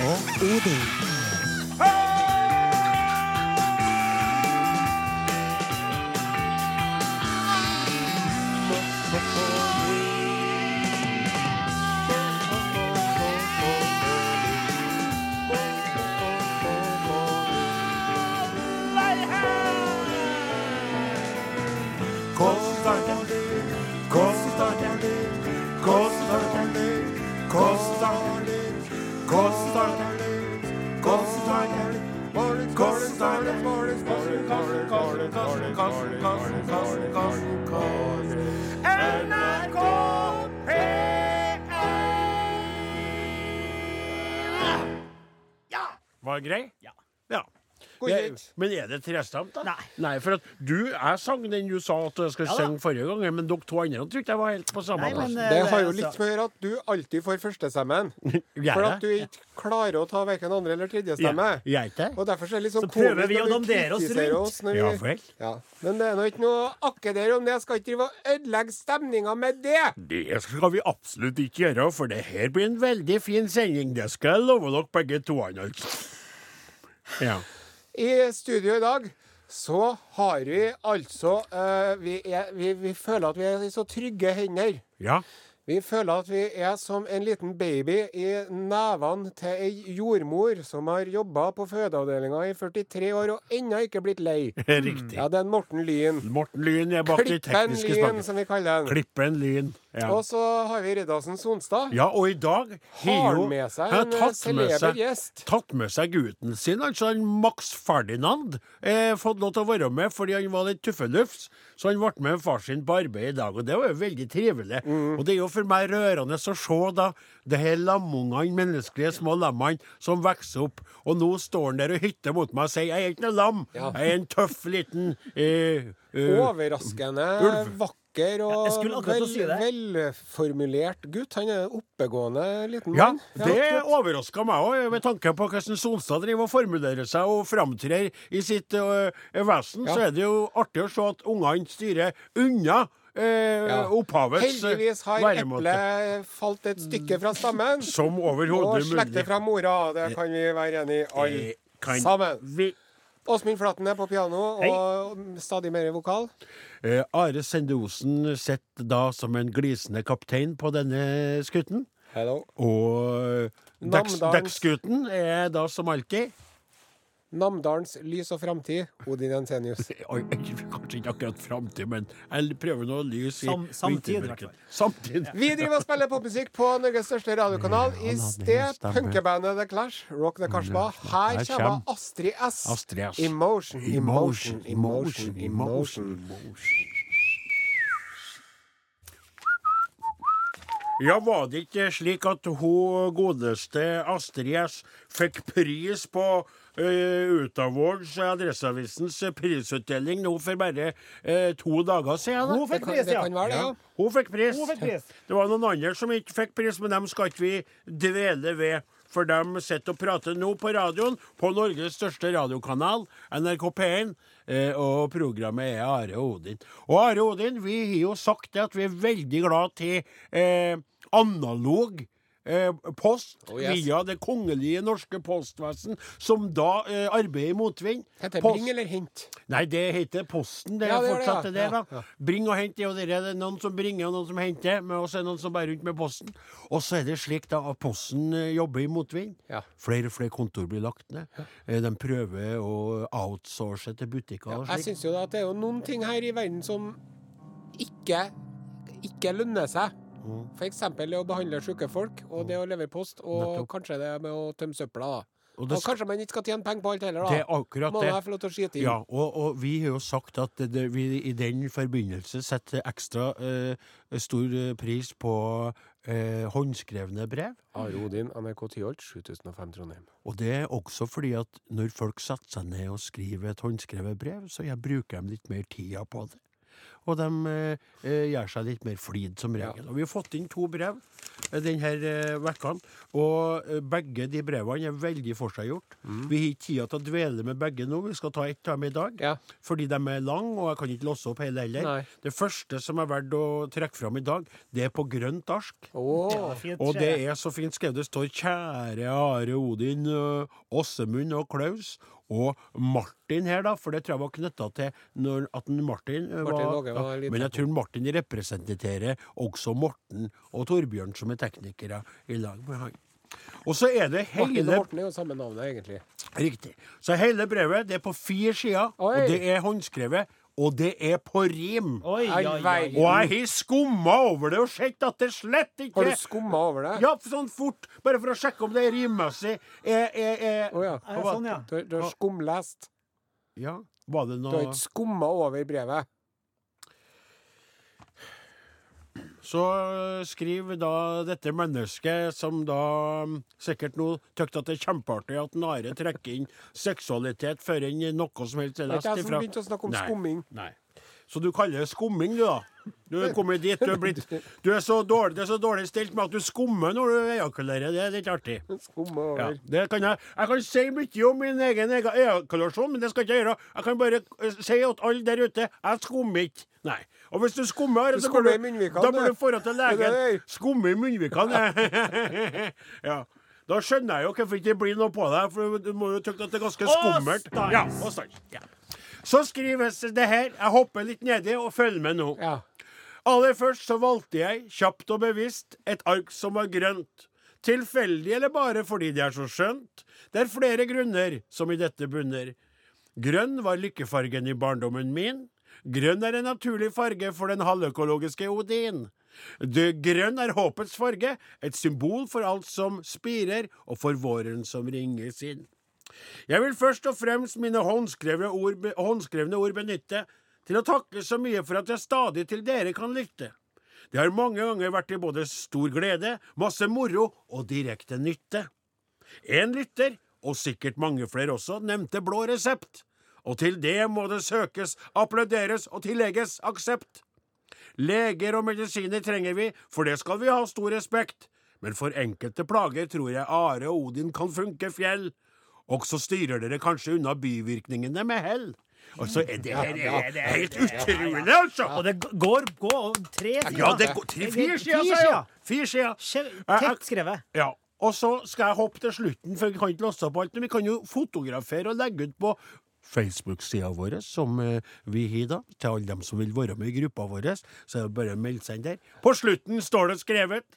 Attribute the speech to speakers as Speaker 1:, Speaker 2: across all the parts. Speaker 1: og Odin.
Speaker 2: Var grei?
Speaker 3: Ja.
Speaker 2: Ja.
Speaker 4: Godkjent.
Speaker 2: Jeg- Men er det trestemt, da?
Speaker 3: Nei.
Speaker 2: for at du, jeg sang den du sa at jeg skulle
Speaker 3: Ja da.
Speaker 2: synge forrige gang, men dere to andre tror ikke jeg var helt på samme
Speaker 3: Nei, men,
Speaker 2: plass.
Speaker 3: eh,
Speaker 4: Det har jo
Speaker 3: altså-
Speaker 4: litt med å gjøre at du alltid får førstestemmen.
Speaker 2: Gjør
Speaker 4: For
Speaker 2: jeg?
Speaker 4: at du ikke klarer å ta verken andre- eller tredjestemme.
Speaker 2: Ja, gjør jeg ikke det?
Speaker 4: Og derfor er det litt sånn
Speaker 3: Så prøver
Speaker 4: komisk
Speaker 3: vi
Speaker 4: når
Speaker 3: å dandere oss
Speaker 4: kritiserer
Speaker 3: rundt.
Speaker 4: oss når vi-
Speaker 2: Ja vel.
Speaker 4: Ja. Men det er nå ikke noe akkedere om det. Jeg skal ikke drive og ødelegge stemninga med det.
Speaker 2: Det skal vi absolutt ikke gjøre, for det her blir en veldig fin sending. Det skal jeg love dere begge to. Altså. Ja.
Speaker 4: I studio i dag så har vi altså eh, vi, er, vi, vi føler at vi er i så trygge hender.
Speaker 2: ja.
Speaker 4: Vi føler at vi er som en liten baby i nevene til ei jordmor som har jobba på fødeavdelinga i 43 år og ennå ikke blitt lei.
Speaker 2: Riktig.
Speaker 4: Ja, det er Morten Lyen.
Speaker 2: Morten Lyn er bak de
Speaker 4: Klippen
Speaker 2: tekniske
Speaker 4: Lyen,
Speaker 2: spakene.
Speaker 4: som vi kaller han.
Speaker 2: Klippen Lyn. Ja.
Speaker 4: Og så har vi Riddarsen Sonstad.
Speaker 2: ja, og i dag
Speaker 4: Har
Speaker 2: jo-
Speaker 4: han med seg
Speaker 2: har
Speaker 4: en eh,
Speaker 2: tatt med
Speaker 4: celeber
Speaker 2: seg-
Speaker 4: gjest?
Speaker 2: tatt med seg gutten sin, altså han Max Ferdinand, eh, fått lov til å være med fordi han var litt tuffelufs. Så han ble med far sin på arbeid i dag, og det var jo veldig trivelig. Og det er jo for meg rørende å se da det her lamungene, menneskelige små lammene, som vokser opp. Og nå står han der og hytter mot meg og sier 'jeg er ikke noe lam',
Speaker 4: Ja.
Speaker 2: 'jeg er en tøff liten eh, eh,
Speaker 4: Overraskende
Speaker 2: Ulv.
Speaker 4: vakker
Speaker 3: Ja, jeg skulle
Speaker 4: og
Speaker 3: akkurat til å si det.
Speaker 4: velformulert gutt. Han er en oppegående liten
Speaker 2: Ja,
Speaker 4: mann.
Speaker 2: det overraska meg òg, med tanke på hvordan Sonstad driver og formulerer seg og framtrer i sitt øh, vesen.
Speaker 4: Ja.
Speaker 2: Så er det jo artig å se at ungene styrer unna øh,
Speaker 4: Ja.
Speaker 2: opphavets øh,
Speaker 4: Heldigvis har eplet falt et stykke fra stammen.
Speaker 2: Som
Speaker 4: Og
Speaker 2: overhodet
Speaker 4: slekter
Speaker 2: mulig.
Speaker 4: fra mora, det kan vi være enig i
Speaker 2: Eh,
Speaker 4: alle
Speaker 2: kan
Speaker 4: sammen.
Speaker 2: Vi,
Speaker 4: Åsmund Flaten er på piano, og stadig mer vokal.
Speaker 2: Eh, Are Sendosen sitter da som en glisende kaptein på denne skutten.
Speaker 4: Hello.
Speaker 2: Og dekks-
Speaker 4: Namdalens-
Speaker 2: dekksgutten er da som alltid
Speaker 4: Namdalens lys og framtid, Odin Jensenius.
Speaker 2: Oi, kanskje ikke akkurat framtid, men jeg prøver nå å lyse i
Speaker 3: Sam- samtid, i hvert
Speaker 2: vintermørket.
Speaker 3: fall.
Speaker 2: Samtid.
Speaker 4: Vi driver og spiller popmusikk på Norges største radiokanal. I sted punkebandet The Clash, Rock the Kashba. Her kommer Astrid S.
Speaker 2: Astrid S.
Speaker 4: Emotion, emotion, emotion, emotion.
Speaker 2: Ja, var det ikke slik at hun godeste Astrid S fikk pris på uh, Utavårds Adresseavisens prisutdeling nå for bare eh, to dager siden? da?
Speaker 3: Hun fikk
Speaker 4: Det kan,
Speaker 3: pris,
Speaker 4: det
Speaker 3: ja.
Speaker 4: kan være det, ja.
Speaker 2: Hun fikk pris.
Speaker 3: Hun fikk pris.
Speaker 2: Det var noen andre som ikke fikk pris, men dem skal ikke vi dvele ved. For de sitter og prater nå på radioen, på Norges største radiokanal, NRK P1. eh, Og programmet er Are og Odin. Og Are og Odin, vi har jo sagt det at vi er veldig glad til eh, analog eh, post
Speaker 4: Oh, yes.
Speaker 2: via det kongelige norske postvesen, som da eh, arbeider i motvind.
Speaker 4: Heter det
Speaker 2: Post-
Speaker 4: bring eller hint?
Speaker 2: Nei, det heter Posten. Det
Speaker 4: Ja,
Speaker 2: er
Speaker 4: det gjør det,
Speaker 2: fortsatt
Speaker 4: ja.
Speaker 2: det der, da.
Speaker 4: Ja, ja.
Speaker 2: Bring og hent er jo det. der. Det er noen som bringer, og noen som henter. Men også er det noen som bærer rundt med posten. Og så er det slik da at Posten eh, jobber i motvind.
Speaker 4: Ja.
Speaker 2: Flere og flere kontor blir lagt ned. Eh, De prøver å outsource til butikker og
Speaker 4: Jeg
Speaker 2: slik.
Speaker 4: syns jo da at det er jo noen ting her i verden som ikke, ikke lønner seg.
Speaker 2: Mm.
Speaker 4: F.eks. det å behandle syke folk, og det å levere post, og kanskje det med å tømme søpla. da.
Speaker 2: Og
Speaker 4: Og,
Speaker 2: det sk-
Speaker 4: kanskje man ikke skal tjene penger på alt heller, da.
Speaker 2: Det er akkurat
Speaker 4: Må
Speaker 2: det.
Speaker 4: jeg få lov til å skyte inn?
Speaker 2: Ja, og, og vi har jo sagt at det, det, vi i den forbindelse setter ekstra eh, stor eh, pris på eh, håndskrevne brev.
Speaker 4: Are Odin, NRK Tyholt, 7005 Trondheim.
Speaker 2: Og det er også fordi at når folk setter seg ned og skriver et håndskrevet brev, så jeg bruker de litt mer tida på det. og de eh, eh, gjør seg litt mer flid, som regel. Og vi har fått inn to brev eh, denne uka, og eh, begge de brevene er veldig forseggjort. Vi har ikke tid til å dvele med begge nå, vi skal ta ett av dem i dag.
Speaker 4: Mm. Ja.
Speaker 2: Fordi de er lange, og jeg kan ikke låse opp hele heller.
Speaker 4: Nei.
Speaker 2: Det første som er verdt å trekke fram i dag, det er på grønt ark.
Speaker 4: Åh.
Speaker 1: Fint,
Speaker 2: Og det
Speaker 1: eh,
Speaker 2: er så fint skrevet. Det står 'Kjære Are Odin, ø, Åsemund og Klaus'. Og Martin her, da, for det tror jeg var knytta til når, at en Martin, ø,
Speaker 4: Martin
Speaker 2: var,
Speaker 4: Åge var
Speaker 2: ja,
Speaker 4: litt-
Speaker 2: Men jeg tror Martin representerer også Morten og Torbjørn, som er teknikere i lag med han. Og så er det
Speaker 4: Martin og
Speaker 2: hele
Speaker 4: Morten er jo samme navnet, egentlig.
Speaker 2: Riktig. Så hele brevet det er på fire sider,
Speaker 4: Oi.
Speaker 2: og det er håndskrevet, og det er på rim.
Speaker 1: Oi, ja, ja,
Speaker 4: All verden.
Speaker 2: Og jeg har skumma over det og sett at det slett ikke
Speaker 4: Har du skumma over det?
Speaker 2: ja, sånn fort, bare for å sjekke om det er Eh, rimmessig. Er, er, er...
Speaker 4: Å ja.
Speaker 1: ja. Sånn, ja.
Speaker 4: Du, har- du har skumlest.
Speaker 2: ja. Var det
Speaker 4: Du har
Speaker 2: noe
Speaker 4: ikke skumma over brevet.
Speaker 2: Så øh, skriv da dette mennesket som da mm, sikkert nå tykt at det er kjempeartig at Nare trekker inn seksualitet før enn noe som helst er
Speaker 4: Det er
Speaker 2: lest
Speaker 4: ikke jeg som
Speaker 2: ifra.
Speaker 4: begynte å snakke om
Speaker 2: Nei.
Speaker 4: skumming.
Speaker 2: Nei. Så du kaller det skumming, du, da? Du er kommet dit. Du er, blitt, du er så dårlig, det er så dårlig stelt med at du skummer når du ejakulerer. Det er litt artig.
Speaker 4: Skumma
Speaker 2: Ja,
Speaker 4: over.
Speaker 2: det kan jeg. jeg kan si mye om min egen ega- ejakulasjon, men det skal ikke jeg gjøre. Jeg kan bare eh, si at alle der ute, jeg skummer ikke. Nei. Og hvis du skummer,
Speaker 4: Du
Speaker 2: så bør
Speaker 4: skummer i munnvikene,
Speaker 2: da bør
Speaker 4: du.
Speaker 2: du dra til
Speaker 4: Det er
Speaker 2: legen.
Speaker 4: det.
Speaker 2: Skumme i munnvikene. ja. Da skjønner jeg jo hvorfor det ikke blir noe på deg, for du må jo tykke at det er ganske skummelt.
Speaker 1: stans.
Speaker 2: Ja, og stans. Ja. Så skrives det her. Jeg hopper litt nedi og følger med nå.
Speaker 4: Ja.
Speaker 2: Aller først så valgte jeg, kjapt og bevisst, et ark som var grønt. Tilfeldig eller bare fordi det er så skjønt? Det er flere grunner som i dette bunner. Grønn var lykkefargen i barndommen min. Grønn er en naturlig farge for den halvøkologiske Odin. Det grønn er håpets farge, et symbol for alt som spirer, og for våren som ringes inn. Jeg vil først og fremst mine håndskrevne ord, håndskrevne ord benytte til å takke så mye for at jeg stadig til dere kan lytte. Det har mange ganger vært til både stor glede, masse moro og direkte nytte. En lytter, og sikkert mange flere også, nevnte blå resept. Og til det må det søkes, applauderes og tillegges aksept. Leger og medisiner trenger vi, for det skal vi ha stor respekt. Men for enkelte plager tror jeg Are og Odin kan funke fjell. Også styrer dere kanskje unna bivirkningene med hell. Altså, er det, er det, er det helt utrolig, altså!
Speaker 1: Og det g- går, går tre sider.
Speaker 2: Ja, det går tre, fire sider, sier jeg! Fire sider.
Speaker 1: Skje-
Speaker 2: Jeg- jeg-
Speaker 1: Tett skrevet.
Speaker 2: Ja. Og så skal jeg hoppe til slutten, for vi kan ikke låse opp alt. Men vi kan jo fotografere og legge ut på Facebook-sida vår, som eh, vi har da. Til alle dem som vil være med i gruppa vår, så er det bare å melde seg inn der. På slutten står det skrevet.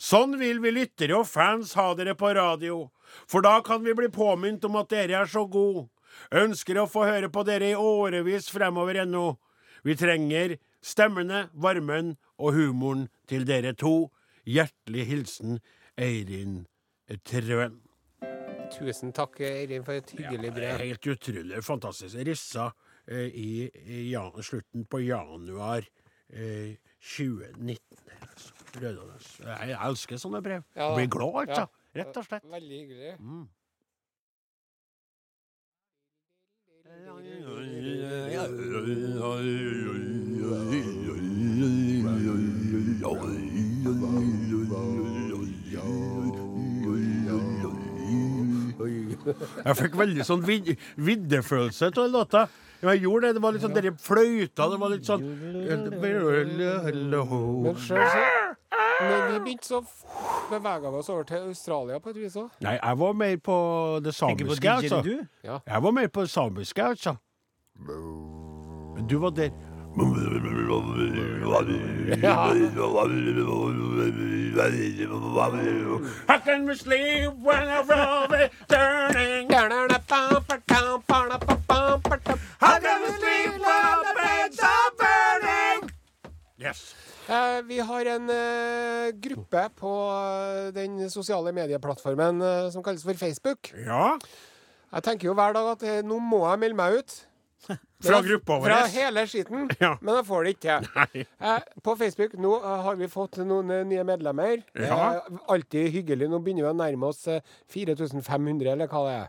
Speaker 2: Sånn vil vi lyttere og fans ha dere på radio, for da kan vi bli påminnet om at dere er så gode. Ønsker å få høre på dere i årevis fremover ennå. Vi trenger stemmene, varmen og humoren til dere to. Hjertelig hilsen Eirin Trøen.
Speaker 4: Tusen takk, Eirin, for et hyggelig
Speaker 2: Det er
Speaker 4: brev.
Speaker 2: Helt utrolig fantastisk. Rissa eh, i, i ja, slutten på januar eh, 2019. her, altså. Rødanes. Jeg jeg elsker sånne brev.
Speaker 4: Ja,
Speaker 2: Blir glad,
Speaker 4: ja.
Speaker 2: altså. Rett og slett.
Speaker 4: Veldig hyggelig.
Speaker 2: Jeg fikk veldig sånn vid viddefølelse av låta. Ja, Jeg gjorde det. Det var litt sånn dere fløyta. Det var litt sånn
Speaker 4: Men sjøl så Men vi begynte så bevega vi oss over til Australia på et vis òg.
Speaker 2: Nei, jeg var mer på det
Speaker 1: Tenker på
Speaker 2: samiske, altså.
Speaker 1: didgeridoo.
Speaker 2: Jeg var mer på det samiske, altså. Men du var der. How can we sleep when our love is turning? How can we sleep when our beds are burning? Yes.
Speaker 4: Eh, Vi har en eh, gruppe på eh, den sosiale medieplattformen eh, som kalles for Facebook.
Speaker 2: Ja.
Speaker 4: Jeg tenker jo hver dag at eh, nå må jeg melde meg ut. Men
Speaker 2: Fra
Speaker 4: jeg-
Speaker 2: gruppa vår.
Speaker 4: Fra hele skiten.
Speaker 2: Ja.
Speaker 4: Men jeg får det ikke til. Eh, På Facebook nå eh, har vi fått noen eh, nye medlemmer.
Speaker 2: Ja.
Speaker 4: Eh, Alltid hyggelig. Nå begynner vi å nærme oss eh, 4500, eller hva det er.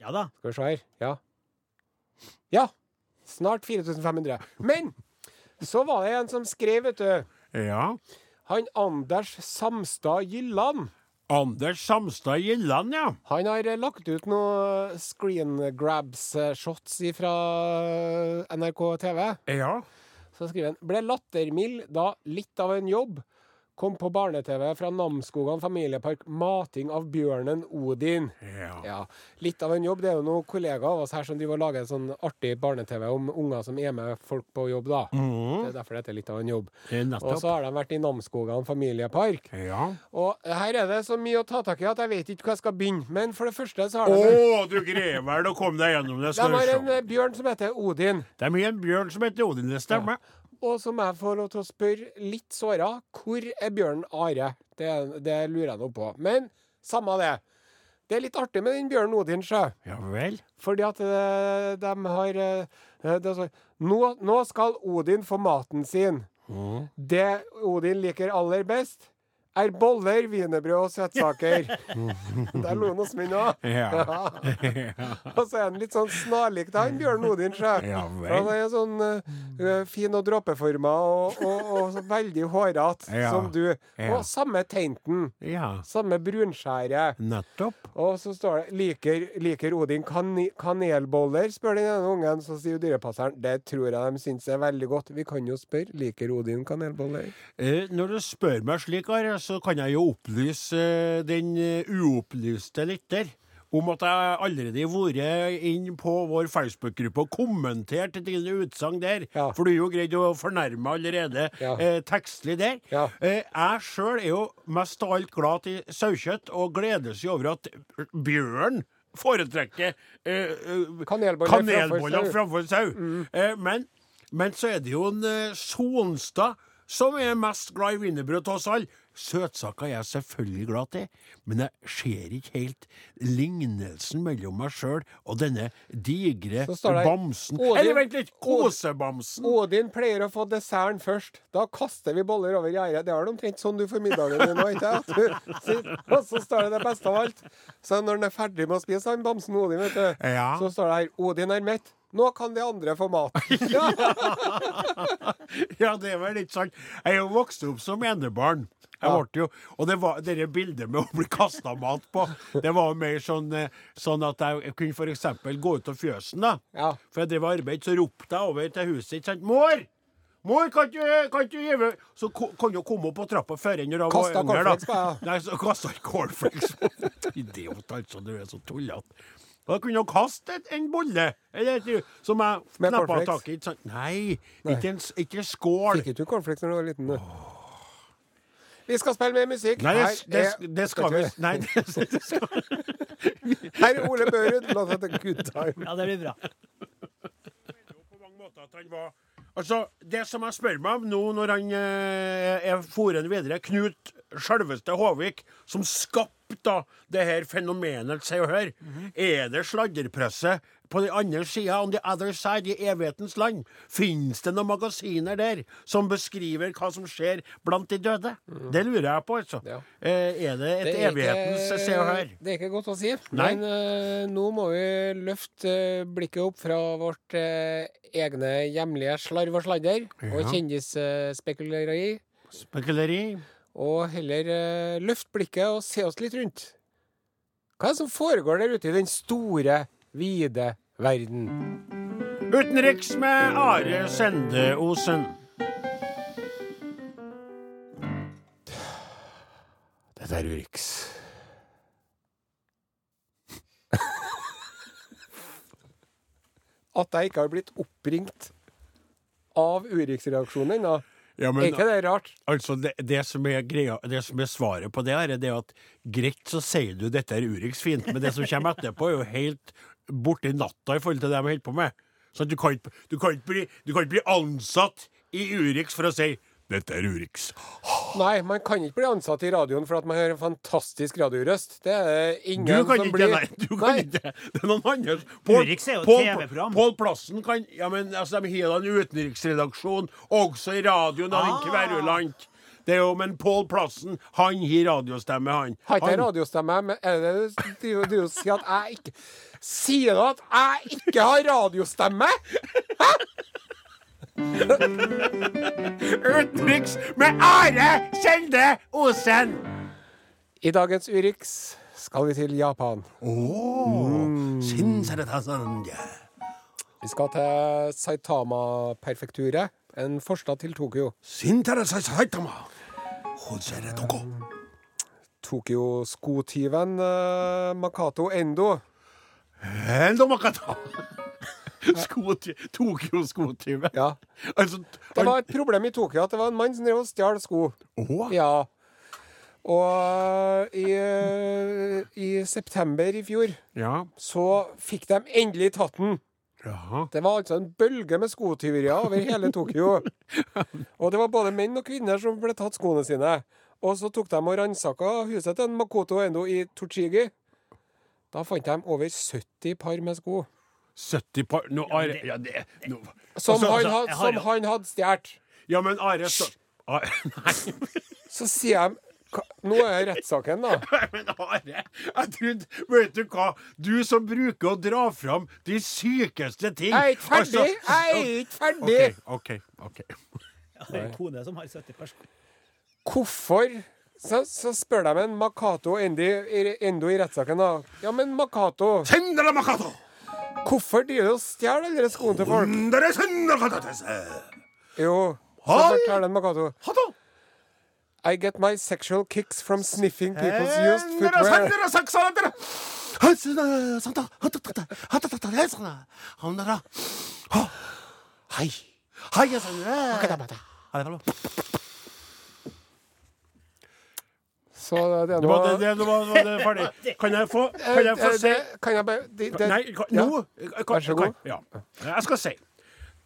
Speaker 1: Ja da.
Speaker 4: Skal vi se her. Ja. Ja. Snart 4500. Men Så var det en som skrev, vet du.
Speaker 2: Ja.
Speaker 4: Han Anders Samstad Gylland.
Speaker 2: Anders Samstad Gjelland, ja.
Speaker 4: Han har eh, lagt ut noen screen eh, grabs-shots fra eh, NRK TV.
Speaker 2: Ja.
Speaker 4: Så skriver han Ble lattermild da litt av en jobb. Kom på barne-TV fra Namsskogan familiepark. Mating av bjørnen Odin.
Speaker 2: Ja.
Speaker 4: Ja, Litt av en jobb. Det er jo noen kollegaer av oss her som driver og lager en sånn artig barne-TV om unger som er med folk på jobb, da. Det er derfor det heter litt av en jobb.
Speaker 2: Eh, nettopp.
Speaker 4: Og så har de vært i Namsskogan familiepark.
Speaker 2: ja.
Speaker 4: Og her er det så mye å ta tak i at jeg vet ikke hvor jeg skal begynne. Men for det første så har
Speaker 2: Å,
Speaker 4: de
Speaker 2: du greier vel å komme deg gjennom
Speaker 4: De
Speaker 2: det, skal du
Speaker 4: har Altså, en
Speaker 2: se.
Speaker 4: eh, bjørn som heter Odin.
Speaker 2: Det er mye en bjørn som heter Odin, det stemmer.
Speaker 4: Og som jeg får lov til å spørre litt såra, hvor er bjørnen Are? Det, det lurer jeg nå på. Men samme det. Det er litt artig med den bjørnen Odin, sjø.
Speaker 2: Ja vel.
Speaker 4: Fordi at eh, de har eh, det er så, nå, nå skal Odin få maten sin.
Speaker 2: Mm.
Speaker 4: Det Odin liker aller best, er boller, wienerbrød og søtsaker. Der lo han hos meg nå.
Speaker 2: Ja.
Speaker 4: Og så er han litt sånn snarlik da, han Bjørn Odin. sjø.
Speaker 2: Ja vel.
Speaker 4: han er sånn eh, fin og dråpeforma og, og, og så veldig hårete,
Speaker 2: Ja.
Speaker 4: som du.
Speaker 2: Ja.
Speaker 4: Og samme teinten.
Speaker 2: ja.
Speaker 4: Samme brunskjæret.
Speaker 2: Nettopp.
Speaker 4: Og så står det 'Liker, liker Odin kani- kanelboller?' spør den ene ungen. Så sier dyrepasseren 'Det tror jeg de syns er veldig godt'. Vi kan jo spørre 'Liker Odin kanelboller?'
Speaker 2: Eh, når du spør meg slik, Are, så kan jeg jo opplyse eh, den eh, uopplyste lytter om at jeg allerede har vært inn på vår Facebook-gruppe og kommentert dine utsagn der.
Speaker 4: Ja.
Speaker 2: For du er jo greid å fornærme allerede
Speaker 4: Ja.
Speaker 2: eh, tekstlig der.
Speaker 4: Ja.
Speaker 2: Eh, jeg sjøl er jo mest av alt glad i sauekjøtt, og gleder seg over at bjørn foretrekker eh, eh,
Speaker 4: Kanelboller
Speaker 2: kanelboller
Speaker 4: framfor sau. Mm.
Speaker 2: framfor sau. Eh, men, men så er det jo en eh, Sonstad som er mest glad i wienerbrød av oss alle. Søtsaker er jeg selvfølgelig glad til, men jeg ser ikke helt lignelsen mellom meg sjøl og denne digre
Speaker 4: Så står det-
Speaker 2: bamsen.
Speaker 4: Odin-
Speaker 2: Eller vent litt,
Speaker 4: Od-
Speaker 2: kosebamsen!
Speaker 4: Odin pleier å få desserten først. Da kaster vi boller over gjerdet. Det er vel omtrent sånn du får middagen din nå, ikke sant? Du sitter- Og så står det det beste av alt. Så når han er ferdig med å spise han bamsen Odin, vet du,
Speaker 2: Ja.
Speaker 4: så står det her 'Odin er mett'. Nå kan de andre få mat. Ja.
Speaker 2: Ja, det er vel ikke sant. Jeg er jo vokst opp som enebarn. Jeg
Speaker 4: Ja.
Speaker 2: ble jo, og det var det der bildet med å bli kasta mat på, det var jo mer sånn, eh, sånn at jeg kunne f.eks. gå ut av fjøsen, da.
Speaker 4: Ja.
Speaker 2: For jeg drev og arbeid, så ropte jeg over til huset, ikke sant. Mor! Mor, kan du, kan du gi meg Så ko- kan du komme opp på trappa før enn når jeg var
Speaker 4: Kastet
Speaker 2: yngre, da.
Speaker 4: cornflakes på,
Speaker 2: Nei, så kasta jeg cornflakes på Idiot, altså. Du er så tullete. Da kunne jeg kaste et- en bolle eller et, som jeg
Speaker 4: Med
Speaker 2: knappa
Speaker 4: cornflakes?
Speaker 2: tak i. ikke sant? Nei, ikke en s- ikke en skål.
Speaker 4: Fikk ikke du cornflakes når du var liten, du? Vi skal spille mer musikk.
Speaker 2: Nei, det,
Speaker 4: Her
Speaker 2: det,
Speaker 4: er-
Speaker 2: det skal vi Nei, det, det skal
Speaker 4: Her er Ole Børud. Låt etter Good Time.
Speaker 1: Ja, det blir bra.
Speaker 2: på mange måter at han var Altså, Det som jeg spør meg om nå når han eh, er foren videre, Knut selveste Håvik, som skapte da det her fenomenet Se og Hør, er det sladrepresset på den andre sida, on the other side, i evighetens land? Fins det noen magasiner der som beskriver hva som skjer blant de døde? Det lurer jeg på, altså.
Speaker 4: Ja.
Speaker 2: Eh, er det et
Speaker 4: Det er ikke-
Speaker 2: evighetens Se og Hør?
Speaker 4: Det er ikke godt å si.
Speaker 2: Nei.
Speaker 4: Men eh, nå må vi løfte eh, blikket opp fra vårt eh, egne hjemlige slarv og sladder og
Speaker 2: Ja.
Speaker 4: kjendisspekuleri,
Speaker 2: Spekuleri?
Speaker 4: og heller eh, løfte blikket og se oss litt rundt. Hva er det som foregår der ute i den store, vide verden?
Speaker 2: Utenriks med Are Sende Osen.
Speaker 4: Dette er Urix. At jeg ikke har blitt oppringt av Urix-reaksjonen ennå.
Speaker 2: Ja,
Speaker 4: Er ikke det rart?
Speaker 2: Altså, det, det, som er greia, det som er svaret på det, her, er det at greit så sier du dette er Urix fint, men det som kommer etterpå, er jo helt borti natta i forhold til det de holder på med. Så du kan ikke, du kan ikke, bli, du kan ikke bli ansatt i Urix for å si 'dette er Urix'.
Speaker 4: Nei, man kan ikke bli ansatt i radioen for at man hører en fantastisk radiorøst. Det er det ingen
Speaker 2: Du kan
Speaker 4: som
Speaker 2: ikke
Speaker 4: blir
Speaker 2: det, nei. Du kan
Speaker 4: Nei.
Speaker 2: ikke det. Det er noen andre.
Speaker 1: Urix er jo et TV-program.
Speaker 2: Pål Plassen kan Ja, men altså, de har da en utenriksredaksjon også i radioen, da,
Speaker 1: Ah.
Speaker 2: ikke Kverulant. Det er jo, men Pål Plassen, han gir radiostemme, han.
Speaker 4: Har ikke jeg
Speaker 2: Han-
Speaker 4: radiostemme? Men er det det du driver- driver og sier at jeg ikke Sier du at jeg ikke har radiostemme?! Hæ?!
Speaker 2: Utenriks med Are Kjelde Osen!
Speaker 4: I dagens Urix skal vi til Japan. Mm.
Speaker 2: Oh, Shinseretazanja.
Speaker 4: Vi skal til Saitama-perfekturet, en forstad til Tokyo.
Speaker 2: Sinteresaitama. Hoseretoko.
Speaker 4: Tokyo-skotyven eh, Makato Endo
Speaker 2: Endomakata. Skot, Tokyo-skotyve.
Speaker 4: Ja.
Speaker 2: Altså,
Speaker 4: Det var et problem i Tokyo at det var en mann som drev og stjal sko.
Speaker 2: Åh,
Speaker 4: Ja. Og eh, i, eh, i september i fjor
Speaker 2: ja.
Speaker 4: så fikk de endelig tatt den.
Speaker 2: Jaha.
Speaker 4: Det var altså en bølge med skotyverier over hele Tokyo. Og det var både menn og kvinner som ble tatt skoene sine. Og så tok de og ransaka huset til en Makoto Endo i Tochigi. Da fant de over 70 par med sko.
Speaker 2: 70 par Nå, Are Ja, det nå.
Speaker 4: Som
Speaker 2: Altså,
Speaker 4: han,
Speaker 2: altså,
Speaker 4: had-
Speaker 1: jeg har
Speaker 4: som
Speaker 1: jo-
Speaker 4: han hadde stjålet.
Speaker 2: Ja, men Are så, Are, Nei.
Speaker 4: Så sier de "Hva- Nå er rettssaken, da.
Speaker 2: Nei, Men Are, jeg trodde Vet du hva? Du som bruker å dra fram de sykeste ting
Speaker 4: Jeg er ikke ferdig!
Speaker 2: Altså-
Speaker 4: Jeg er ikke ferdig!
Speaker 2: OK. ok, ok.
Speaker 1: Jeg har en kone som har 70 personer.
Speaker 4: Hvorfor så, så spør de en Makato Endi, Endo i rettssaken, da. Ja, men Makato,
Speaker 2: Sendere makato!
Speaker 4: hvorfor driver du og stjeler alle de skoene til folk?
Speaker 2: Sendere sendere katatese!
Speaker 4: Jo, så
Speaker 2: Oi!
Speaker 4: forteller en Makato.
Speaker 2: Hato!
Speaker 4: I get my sexual kicks from sniffing people's used
Speaker 2: Sendere
Speaker 4: footwear.
Speaker 2: sendere saksalandere! Hatsune, santa, hatatata, hatatata, lesana, hanara. Ha. Hei. Hei, jeg sender. Ha det, hallo.
Speaker 4: Så det er
Speaker 2: Det
Speaker 4: noe
Speaker 2: var det, det, det var, det var det ferdig. Kan jeg få, kan jeg få
Speaker 4: Eh,
Speaker 2: si
Speaker 4: det- Kan jeg bare det- det-
Speaker 2: Nei, kan,
Speaker 4: ja.
Speaker 2: nå jeg kan,
Speaker 4: Vær så god.
Speaker 2: Jeg, kan, ja. jeg skal si.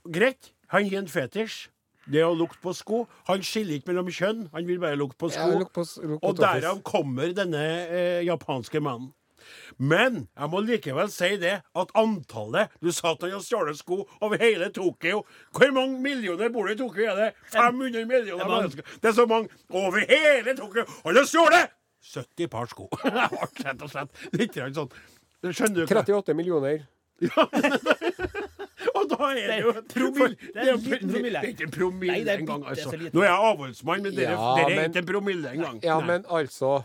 Speaker 2: Greit, han gir en fetisj. Det å lukte på sko. Han skiller ikke mellom kjønn, han vil bare lukte på
Speaker 4: Ja,
Speaker 2: sko.
Speaker 4: lukt på s- lukt på
Speaker 2: og
Speaker 4: tåfis.
Speaker 2: derav kommer denne eh, japanske mannen. Men jeg må likevel si det at antallet Du sa at han har stjålet sko over hele Tokyo. Hvor mange millioner bor det i Tokyo? Er det 500 millioner
Speaker 1: mange.
Speaker 2: mennesker? Det er så mange over hele Tokyo! Han har stjålet 70 par sko. Rett og slett. Litt grann sånn. Skjønner du hva
Speaker 4: 38 millioner.
Speaker 2: og da er det jo
Speaker 1: Det er promille. Det er en liten promille.
Speaker 2: Det er ikke en promille
Speaker 1: Nei, det er
Speaker 2: engang,
Speaker 1: bitte så
Speaker 2: altså.
Speaker 1: liten.
Speaker 2: Nå er jeg avholdsmann, men dere,
Speaker 4: Ja,
Speaker 2: dere er
Speaker 4: men-
Speaker 2: ikke en promille engang.
Speaker 4: Ja,
Speaker 2: Nei.
Speaker 4: men altså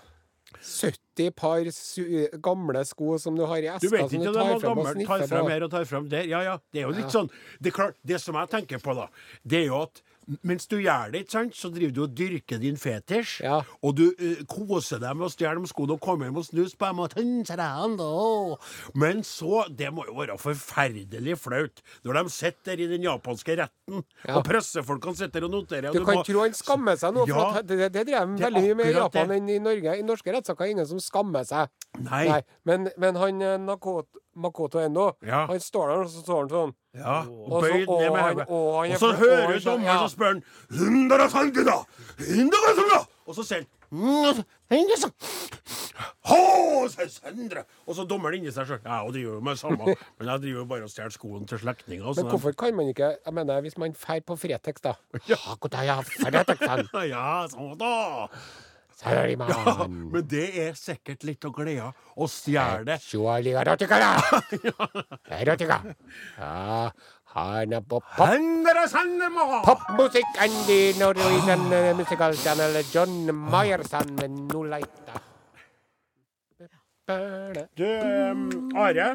Speaker 4: 70 par su gamle sko som du har i
Speaker 2: Du
Speaker 4: eska,
Speaker 2: vet
Speaker 4: som altså,
Speaker 2: ikke
Speaker 4: du
Speaker 2: om det
Speaker 4: tar
Speaker 2: var
Speaker 4: frem og
Speaker 2: gammelt. Tar
Speaker 4: sniffer
Speaker 2: frem
Speaker 4: på.
Speaker 2: her og tar frem der. Ja, ja. Det er jo litt sånn Det er klart, det som jeg tenker på, da, det er jo at mens du gjør det, ikke sant, så driver du og dyrker din fetisj,
Speaker 4: Ja.
Speaker 2: og du eh, koser deg med å stjele de skoene og komme hjem og snuse på dem og tønse deg an, da. Men så Det må jo være forferdelig flaut når de sitter i den japanske retten,
Speaker 4: Ja.
Speaker 2: og pressefolkene sitter og noterer. og
Speaker 4: Du kan
Speaker 2: må-
Speaker 4: tro han skammer seg nå, for
Speaker 2: Ja.
Speaker 4: at det, det, det drev de
Speaker 2: Det er
Speaker 4: veldig mye med i
Speaker 2: akkurat
Speaker 4: Japan
Speaker 2: det.
Speaker 4: enn i Norge. I norske rettssaker er det ingen som skammer seg.
Speaker 2: Nei.
Speaker 4: Men, men han eh, Nakoto, Makoto Endo,
Speaker 2: Ja.
Speaker 4: han står der og så står han sånn.
Speaker 2: Ja,
Speaker 4: Og
Speaker 2: og
Speaker 4: så-
Speaker 2: bøyd
Speaker 4: og
Speaker 2: ned med
Speaker 4: han-
Speaker 2: hodet.
Speaker 4: og han er
Speaker 2: Og så
Speaker 4: fl- og
Speaker 2: hører
Speaker 4: han
Speaker 2: du
Speaker 4: sa-
Speaker 2: dommeren
Speaker 4: ja.
Speaker 2: som spør han «150 da! 150 da!» Og så sier han «150 da!» «Hå, sier Sendre!» Og så dommeren inni seg sjøl. Jeg driver jo med det samme, men jeg driver jo bare og stjeler skoene til slektninger. og
Speaker 4: Men
Speaker 2: sånn.
Speaker 4: hvorfor kan man ikke jeg mener, Hvis man drar på Fretex, da. Ja, god dag, ja, Fretexen.
Speaker 2: Ja, sånn da.
Speaker 4: Sorry, man.
Speaker 2: Ja, men det er sikkert litt å glede av. Å stjele det.
Speaker 4: Shua liga rotika, da. Ja, rotika. Ja, hana på pop.
Speaker 2: «Hundre sender må ha!»
Speaker 4: Popmusikk and the Norwegian eh, Musical Channel John Meyerson med Nolaita.
Speaker 2: Du, ehm, Are.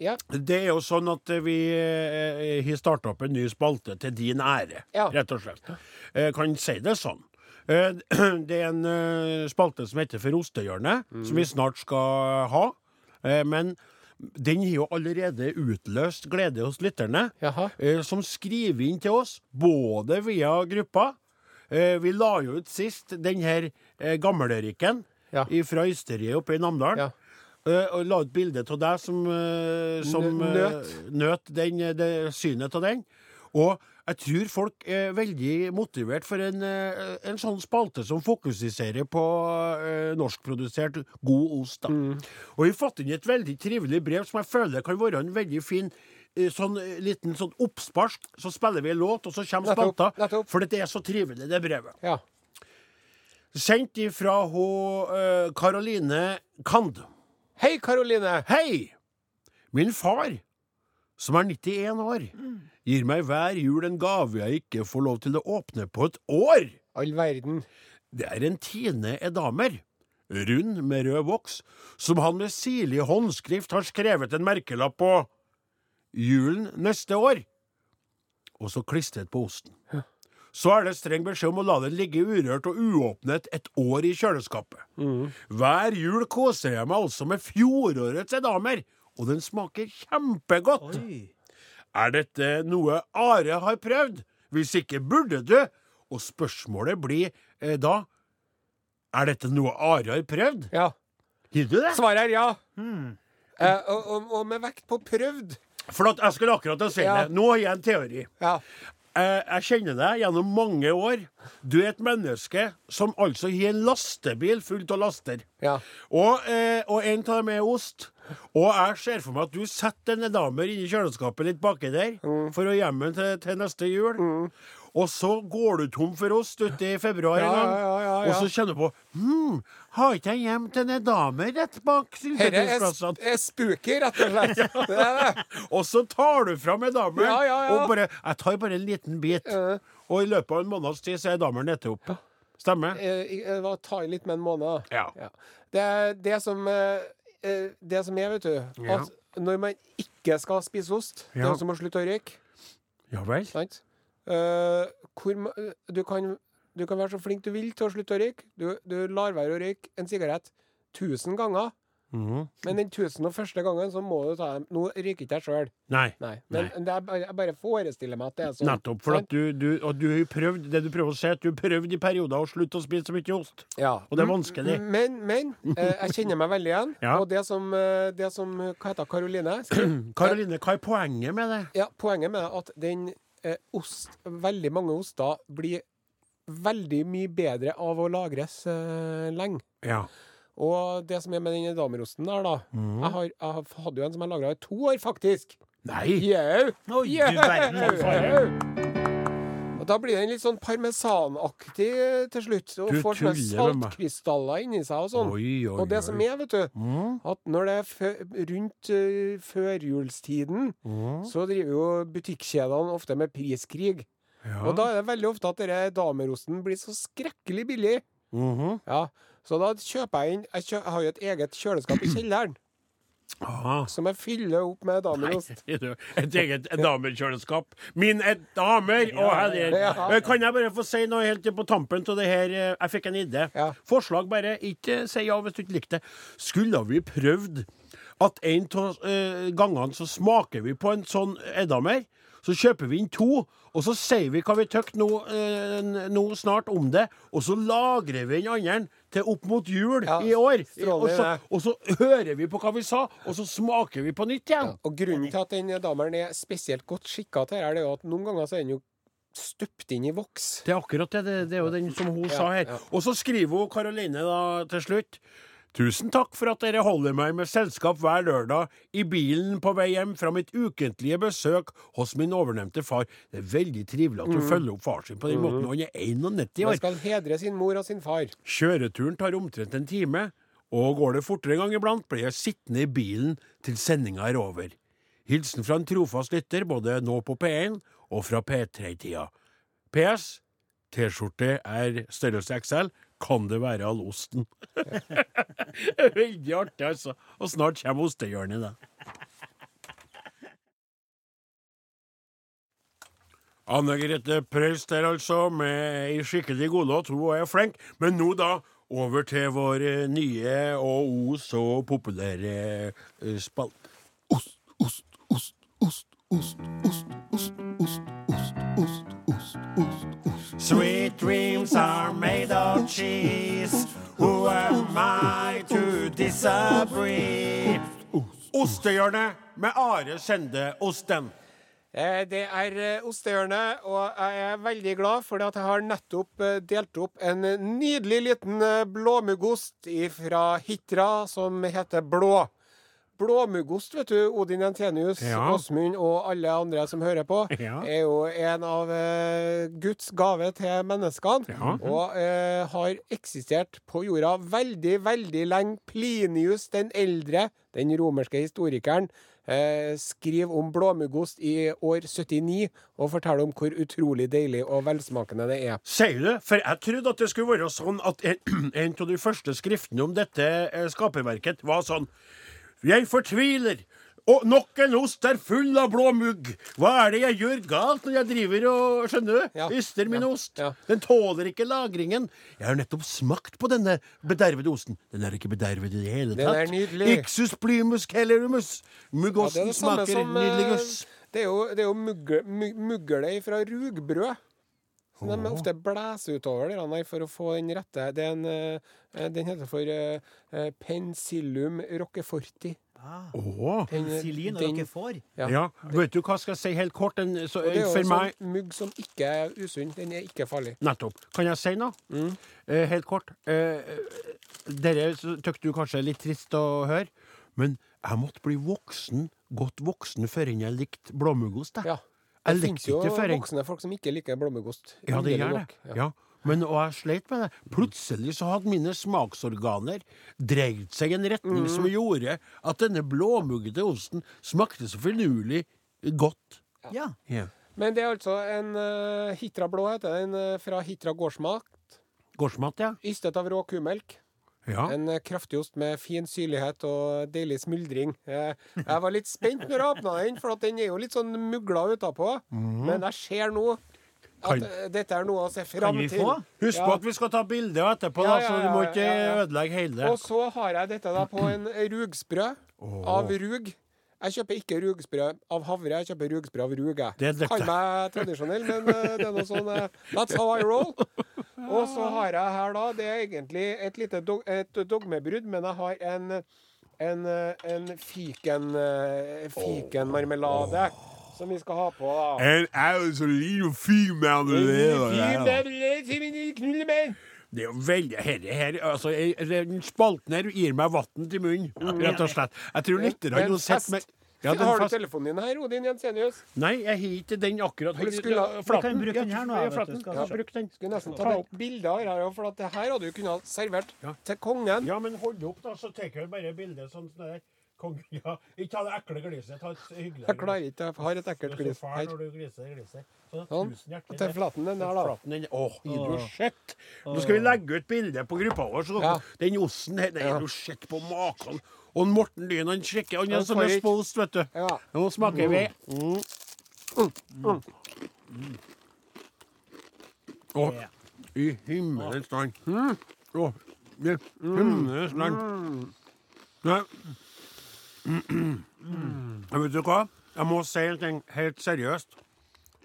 Speaker 4: Ja.
Speaker 2: Det er jo sånn at vi eh, har starta opp en ny spalte til din ære,
Speaker 4: Ja.
Speaker 2: rett og slett. Eh, kan si det sånn. Eh, det er en eh, spalte som heter For ostehjørnet,
Speaker 4: Mm.
Speaker 2: som vi snart skal ha. Eh, men den har jo allerede utløst glede hos lytterne,
Speaker 4: Jaha.
Speaker 2: eh, som skriver inn til oss, både via gruppa eh, Vi la jo ut sist den her eh, gammeløriken
Speaker 4: Ja.
Speaker 2: fra Ysteriet oppe i Namdalen.
Speaker 4: Ja.
Speaker 2: Eh, og la ut bilde av deg som, eh, som
Speaker 4: Nø- nøt.
Speaker 2: eh, nøt den, eh, det, synet av den. Og jeg tror folk er veldig motivert for en, eh, en sånn spalte som fokuserer på eh, norskprodusert god ost. Da.
Speaker 4: Mm.
Speaker 2: Og vi fått inn et veldig trivelig brev som jeg føler kan være en veldig fin eh, Sånn eh, liten sånn oppspark, så spiller vi en låt, og så kommer
Speaker 4: Nettopp,
Speaker 2: spalta.
Speaker 4: nettopp.
Speaker 2: For det er så trivelig, det brevet.
Speaker 4: Ja.
Speaker 2: Sendt ifra hun Karoline Kand.
Speaker 4: Hei, Karoline.
Speaker 2: Hei! Min far, som er 91 år, gir meg hver jul en gave jeg ikke får lov til å åpne på et år.
Speaker 4: All verden.
Speaker 2: Det er en Tine Edamer, rund med rød voks, som han med sirlig håndskrift har skrevet en merkelapp på julen neste år, og så klistret på osten. Så er det streng beskjed om å la den ligge urørt og uåpnet et år i kjøleskapet. Hver jul koser jeg meg altså med fjorårets edamer, og den smaker kjempegodt.
Speaker 1: Oi.
Speaker 2: Er dette noe Are har prøvd? Hvis ikke burde du? Og spørsmålet blir eh, da Er dette noe Are har prøvd?
Speaker 4: Ja.
Speaker 2: Gir du det?
Speaker 4: Svaret er ja. Eh, og, og, og med vekt på prøvd.
Speaker 2: For at jeg skulle akkurat å si
Speaker 4: Ja.
Speaker 2: det. Nå har jeg en teori.
Speaker 4: Ja.
Speaker 2: Eh, jeg kjenner deg gjennom mange år. Du er et menneske som altså har en lastebil fullt av laster.
Speaker 4: ja.
Speaker 2: Og, eh, og en av dem er ost. Og jeg ser for meg at du setter en edamer inni kjøleskapet litt baki der
Speaker 4: Mm.
Speaker 2: for å gjemme den til, til neste jul. Og så går du tom for ost uti februar
Speaker 4: Ja,
Speaker 2: en gang.
Speaker 4: ja, ja, ja.
Speaker 2: Og så kjenner du på Hm, har ikke jeg gjemt en edamer rett bak
Speaker 4: Dette er,
Speaker 2: syltetøysplassene?
Speaker 4: er spooky, rett og slett. Det er det.
Speaker 2: Og så tar du fram edamen
Speaker 4: Ja, ja, ja.
Speaker 2: og bare Jeg tar bare en liten bit. Og i løpet av en måneds tid så er edameren nette opp. Stemmer?
Speaker 4: Eh, eh, hva, ta i litt med en måned. da.
Speaker 2: Ja.
Speaker 4: Det er det som eh, eh, Det som er, vet du
Speaker 2: Ja.
Speaker 4: At når man ikke skal spise ost Det er
Speaker 2: Ja.
Speaker 4: som å slutte å røyke.
Speaker 2: Ja vel?
Speaker 4: Sant? Eh, hvor, ma- du, kan, du kan være så flink du vil til å slutte å røyke. Du, du lar være å røyke en sigarett 1000 ganger.
Speaker 2: Mhm.
Speaker 4: Men den 1001. gangen så må du ta dem. Nå røyker ikke jeg sjøl.
Speaker 2: Nei.
Speaker 4: Nei. Men Det er, bare- jeg bare forestiller meg at det er sånn.
Speaker 2: Nettopp. For
Speaker 4: Sant?
Speaker 2: at du, du, og du har jo prøvd, det du prøver å si, at du har prøvd i perioder å slutte å spise så mye ost.
Speaker 4: Ja.
Speaker 2: Og det er vanskelig.
Speaker 4: Men, men eh, jeg kjenner meg veldig igjen.
Speaker 2: Ja.
Speaker 4: Og det som, eh, det som Hva heter Karoline?
Speaker 2: Karoline, hva er poenget med det?
Speaker 4: Ja, poenget med at den eh, ost Veldig mange oster blir veldig mye bedre av å lagres eh, lenge.
Speaker 2: Ja.
Speaker 4: Og det som er med den damerosten der, da
Speaker 2: Mm.
Speaker 4: jeg, har, jeg har- hadde jo en som jeg lagra i to år, faktisk.
Speaker 2: Nei!
Speaker 4: Jau!
Speaker 1: Oi, du verden, altså. for
Speaker 4: Jau!
Speaker 1: en
Speaker 4: Og da blir den litt sånn parmesanaktig eh, til slutt. Og
Speaker 2: Du
Speaker 4: får sånne
Speaker 2: tuller med meg.
Speaker 4: saltkrystaller inni seg og sånn.
Speaker 2: Oi, oi,
Speaker 4: Og det som
Speaker 2: oi. Mm.
Speaker 4: er, vet du, at når det er fø rundt eh, førjulstiden,
Speaker 2: Mm.
Speaker 4: så driver jo butikkjedene ofte med priskrig.
Speaker 2: Ja.
Speaker 4: Og da er det veldig ofte at denne damerosten blir så skrekkelig billig.
Speaker 2: Mhm.
Speaker 4: Ja, Så da kjøper jeg inn Jeg, kjø jeg har jo et eget kjøleskap i kjelleren
Speaker 2: Ah.
Speaker 4: som jeg fyller opp med
Speaker 2: Nei,
Speaker 4: damerost.
Speaker 2: sier du. Et eget damekjøleskap. Min et damer! Å, herregud.
Speaker 4: Ja.
Speaker 2: Eh, Kan jeg bare få si noe helt på tampen av det her? eh, Jeg fikk en idé.
Speaker 4: Ja.
Speaker 2: Forslag bare. Ikke si ja hvis du ikke likte det. Skulle vi prøvd at en av eh, gangene så smaker vi på en sånn edamer, så kjøper vi inn to, og så sier vi hva vi tykker nå, eh, n- nå snart om det, og så lagrer vi den andre til opp mot jul
Speaker 4: Ja,
Speaker 2: i år.
Speaker 4: strålende
Speaker 2: Og så,
Speaker 4: idé.
Speaker 2: og så hører vi på hva vi sa, og så smaker vi på nytt igjen.
Speaker 4: Og grunnen til at den dameren er spesielt godt skikka til, her, det er jo at noen ganger så er den jo støpt inn i voks.
Speaker 2: Det er akkurat det. Det, det er jo den som hun sa her. Og så skriver hun Karoline da til slutt. Tusen takk for at dere holder meg med selskap hver lørdag i bilen på vei hjem fra mitt ukentlige besøk hos min overnevnte far. Det er veldig trivelig at du følger opp far sin på den måten. Han er 91
Speaker 4: Man
Speaker 2: år.
Speaker 4: skal hedre sin mor og sin far.
Speaker 2: Kjøreturen tar omtrent en time, og går det fortere en gang iblant, blir jeg sittende i bilen til sendinga er over. Hilsen fra en trofast lytter, både nå på P1 og fra P3-tida. PS. T-skjorte er størrelse XL. Kan det være all osten? Veldig artig, altså. Og snart kommer ostehjørnet, da. Anne Grete Preus der, altså, med ei skikkelig godlåt. Hun er flink. Men nå, da, over til vår eh, nye og o så populære eh, spalt. Sweet dreams are made of cheese. Who am I to disagree? Ostehjørnet med Are Sende Osten.
Speaker 4: Eh, Det er eh, Ostehjørnet, og jeg er veldig glad for at jeg har nettopp eh, delt opp en nydelig liten eh, blåmuggost fra Hitra som heter Blå. Blåmuggost, vet du, Odin Jentenius,
Speaker 2: Ja.
Speaker 4: Åsmund og alle andre som hører på,
Speaker 2: Ja.
Speaker 4: er jo en av eh, Guds gave til menneskene.
Speaker 2: Ja. Mhm.
Speaker 4: Og eh, har eksistert på jorda veldig, veldig lenge. Plinius den eldre, den romerske historikeren, eh, skriver om blåmuggost i år 79 og forteller om hvor utrolig deilig og velsmakende det er.
Speaker 2: Sier du det? For jeg trodde at det skulle være sånn at en en av de første skriftene om dette eh, skaperverket var sånn Jeg fortviler! Og nok en ost er full av blå mugg! Hva er det jeg gjør galt når jeg driver og skjønner du?
Speaker 4: Ja.
Speaker 2: Yster min
Speaker 4: Ja.
Speaker 2: ost.
Speaker 4: Ja.
Speaker 2: Den tåler ikke lagringen. Jeg har nettopp smakt på denne bedervede osten. Den er ikke bedervet i det hele
Speaker 4: Den er
Speaker 2: tatt.
Speaker 4: nydelig.
Speaker 2: Ixus plymus kellerumus.
Speaker 4: Ja, det
Speaker 2: Muggosten
Speaker 4: er det samme
Speaker 2: smaker
Speaker 4: som eh,
Speaker 2: nydelig guss.
Speaker 4: Det er jo, det er jo mugle, mu- mugle fra rugbrød. Så de ofte blæser utover det der for å få den rette. Det er en, eh, den heter for eh, eh, pensillum rockeforti.
Speaker 1: Ah,
Speaker 2: Åh.
Speaker 4: Den-
Speaker 1: Silin og
Speaker 4: den-
Speaker 1: dere får.
Speaker 4: Ja.
Speaker 2: Ja, vet du hva skal jeg si helt kort? En, så,
Speaker 4: Og det er jo
Speaker 2: for
Speaker 4: en
Speaker 2: meg
Speaker 4: sånn mugg som ikke er usunn. Den er ikke farlig.
Speaker 2: Nettopp. Kan jeg si noe?
Speaker 4: Mm.
Speaker 2: Eh, helt kort. Eh, dere syns du kanskje er litt trist å høre, men jeg måtte bli voksen, godt voksen, før jeg likte blåmuggost. jeg.
Speaker 4: Ja. Det
Speaker 2: Jeg
Speaker 4: finnes
Speaker 2: likte
Speaker 4: jo
Speaker 2: ikke før jeg
Speaker 4: voksne folk som ikke liker blåmuggost.
Speaker 2: Ja, det
Speaker 4: Underlig
Speaker 2: gjør
Speaker 4: nok.
Speaker 2: det. Ja. Men, og jeg sleit med det. Plutselig så hadde mine smaksorganer dreid seg i en retning som
Speaker 4: Mm.
Speaker 2: gjorde at denne blåmuggete osten smakte så finurlig godt.
Speaker 1: Ja.
Speaker 4: Men det er altså en eh, Hitra blå, heter den, eh, fra Hitra gårdsmat.
Speaker 2: Gårdsmat, ja.
Speaker 4: Ystet av rå kumelk.
Speaker 2: ja.
Speaker 4: En eh, kraftig ost med fin syrlighet og deilig smuldring. Eh, Jeg var litt spent når jeg åpna den, for at den er jo litt sånn mugla utapå.
Speaker 1: Mhm.
Speaker 4: Men jeg ser nå
Speaker 2: Kan-
Speaker 4: at eh, dette er noe å se
Speaker 1: Kan
Speaker 4: fram
Speaker 1: vi
Speaker 4: til.
Speaker 1: få?
Speaker 2: Husk
Speaker 4: Ja.
Speaker 2: på at vi skal ta bilder etterpå,
Speaker 4: Ja,
Speaker 2: da,
Speaker 4: ja,
Speaker 2: så
Speaker 4: ja,
Speaker 2: du må
Speaker 4: ja,
Speaker 2: ikke
Speaker 4: ja, ja.
Speaker 2: ødelegge hele.
Speaker 4: Og så har jeg dette da på en rugsprø av rug. Jeg kjøper ikke rugsprø av havre, jeg kjøper rugsprø av rug.
Speaker 2: Det er
Speaker 4: Jeg
Speaker 2: dette.
Speaker 4: kan meg tradisjonell, men eh, det er noe sånn eh, That's how I roll. Og så har jeg her da Det er egentlig et lite dog, et dogmebrudd, men jeg har en en, eh, en fiken eh, fikenmarmelade som vi skal ha på. da.
Speaker 2: En altså liten firmaanleder.
Speaker 4: Ja,
Speaker 2: Det er jo veldig Herre her, altså jeg- Den spalten her gir meg vann til munnen,
Speaker 1: Mm.
Speaker 2: rett og slett. Jeg tror lytterne
Speaker 4: Men
Speaker 2: har sett
Speaker 4: fest.
Speaker 2: meg ja, den
Speaker 4: Har du
Speaker 2: fast-
Speaker 4: telefonen din her, Odin Jensenius?
Speaker 2: Nei, jeg har ikke den akkurat.
Speaker 4: For det skulle-
Speaker 2: Ja,
Speaker 1: Du kan bruke den her nå,
Speaker 2: Ja,
Speaker 1: vet du,
Speaker 2: flatten.
Speaker 1: skal
Speaker 2: Ja,
Speaker 1: se.
Speaker 2: bruk den.
Speaker 4: Skulle nesten
Speaker 2: Ta
Speaker 4: tatt et bilde av det her, for at det her hadde du kunnet servert
Speaker 2: Ja.
Speaker 4: til kongen.
Speaker 2: Ja, men hold opp, da, så tar jeg bare bildet sånn sånn der. Kong, ja. Ikke ta det ekle gliset. Ta et hyggelig
Speaker 4: Jeg klarer ikke, jeg har et ekkelt
Speaker 2: Du er
Speaker 4: glis
Speaker 2: så fæl
Speaker 4: her.
Speaker 2: når du gliser, gliser. Sånn,
Speaker 4: Sånn.
Speaker 2: tusen hjertelig.
Speaker 4: Til flaten den der, da.
Speaker 2: Flaten den. Åh, er du sett? Nå skal vi legge ut bilde på gruppa vår. Så
Speaker 4: Ja.
Speaker 2: Den osten her, det
Speaker 4: Ja.
Speaker 2: er du sett på maken. Og Morten Lyn, han sjekker. Han
Speaker 4: Han
Speaker 2: er som
Speaker 4: får
Speaker 2: en
Speaker 4: ikke-
Speaker 2: spost, vet du.
Speaker 4: Ja. Mm.
Speaker 2: Nå smaker vi. Å, i himmelens land. Mm. Å, i himmelens land. Nei. Men Vet du hva? Jeg må si en ting helt seriøst.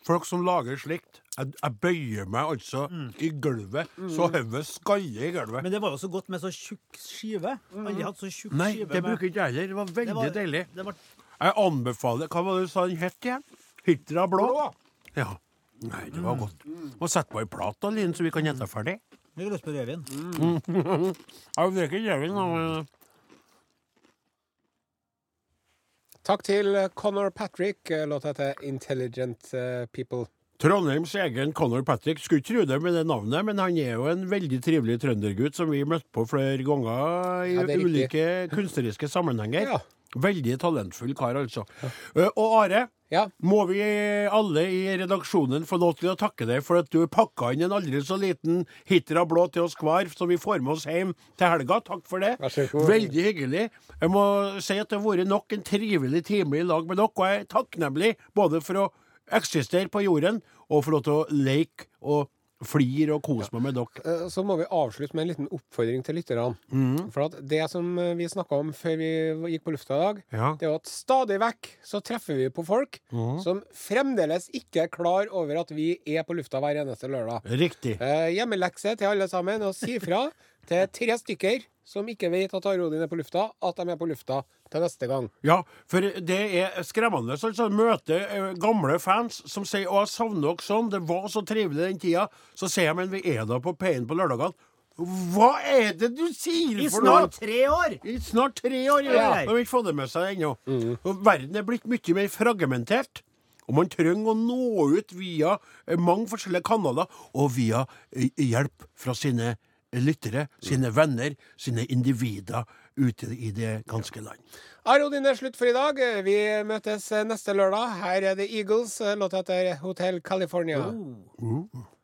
Speaker 2: Folk som lager slikt Jeg, jeg bøyer meg altså i gulvet, så hodet skaller i gulvet.
Speaker 1: Men det var jo så godt med så tjukk skive. Aldri hatt så tjukk
Speaker 2: Mm. Nei,
Speaker 1: skive.
Speaker 2: det
Speaker 1: med-
Speaker 2: bruker ikke jeg heller. Det var veldig
Speaker 1: Det var-
Speaker 2: deilig.
Speaker 1: Det var
Speaker 2: Jeg anbefaler Hva var det du sa den het igjen? Hitra blå? Mm. Ja. Nei, det var godt. Må sette på ei plate, da, Linn, så vi kan gjette ferdig.
Speaker 1: Jeg har lyst på rødvin.
Speaker 2: Mm. Jeg drikker jævlig, da. men-
Speaker 4: Takk til eh, Conor Patrick. Eh, Låta heter 'Intelligent eh, People'.
Speaker 2: Trondheims egen Conor Patrick. Skulle ikke tro det med det navnet, men han er jo en veldig trivelig trøndergutt som vi møtte på flere ganger i
Speaker 4: Ja, det er riktig.
Speaker 2: ulike kunstneriske sammenhenger.
Speaker 4: Ja.
Speaker 2: Veldig talentfull kar, altså. Eh, Og Are,
Speaker 4: Ja.
Speaker 2: må vi alle i redaksjonen få lov til å takke deg for at du pakka inn en aldri så liten Hitra blå til oss hver, som vi får med oss hjem til helga. Takk for det.
Speaker 4: Vær så god.
Speaker 2: Veldig hyggelig. Jeg må si at det har vært nok en trivelig time i lag med dere, og jeg er takknemlig både for å eksistere på jorden og for lov til å leke og flire og kose meg med dere.
Speaker 4: Eh, Så må vi avslutte med en liten oppfordring til lytterne. For at det som eh, vi snakka om før vi gikk på lufta i dag,
Speaker 2: Ja.
Speaker 4: det er jo at stadig vekk så treffer vi på folk som fremdeles ikke er klar over at vi er på lufta hver eneste lørdag.
Speaker 2: Riktig.
Speaker 4: Eh, hjemmelekse til alle sammen, og si fra til tre stykker som ikke vet at Arodin er på lufta, at de er på lufta til neste gang.
Speaker 2: Ja, for det er skremmende altså, å møte eh, gamle fans som sier 'Å, jeg savner dere sånn, det var så trivelig den tida'. Så sier jeg 'Men vi er da på P1 på lørdagene'. Hva er det du sier
Speaker 1: I
Speaker 2: for
Speaker 1: snart
Speaker 2: noe?!
Speaker 1: tre år!
Speaker 2: I snart tre år! Ja.
Speaker 1: Ja. Mm.
Speaker 2: De har ikke fått det med seg ennå. Og Verden er blitt mye mer fragmentert. Og man trenger å nå ut via eh, mange forskjellige kanaler, og via eh, hjelp fra sine lyttere,
Speaker 1: Mm.
Speaker 2: sine venner, sine individer ute i det ganske land.
Speaker 4: Are Odin er slutt for i dag. Vi eh, møtes neste lørdag. Her er The Eagles. Låt etter Hotel California.
Speaker 1: Oh.
Speaker 2: Mm.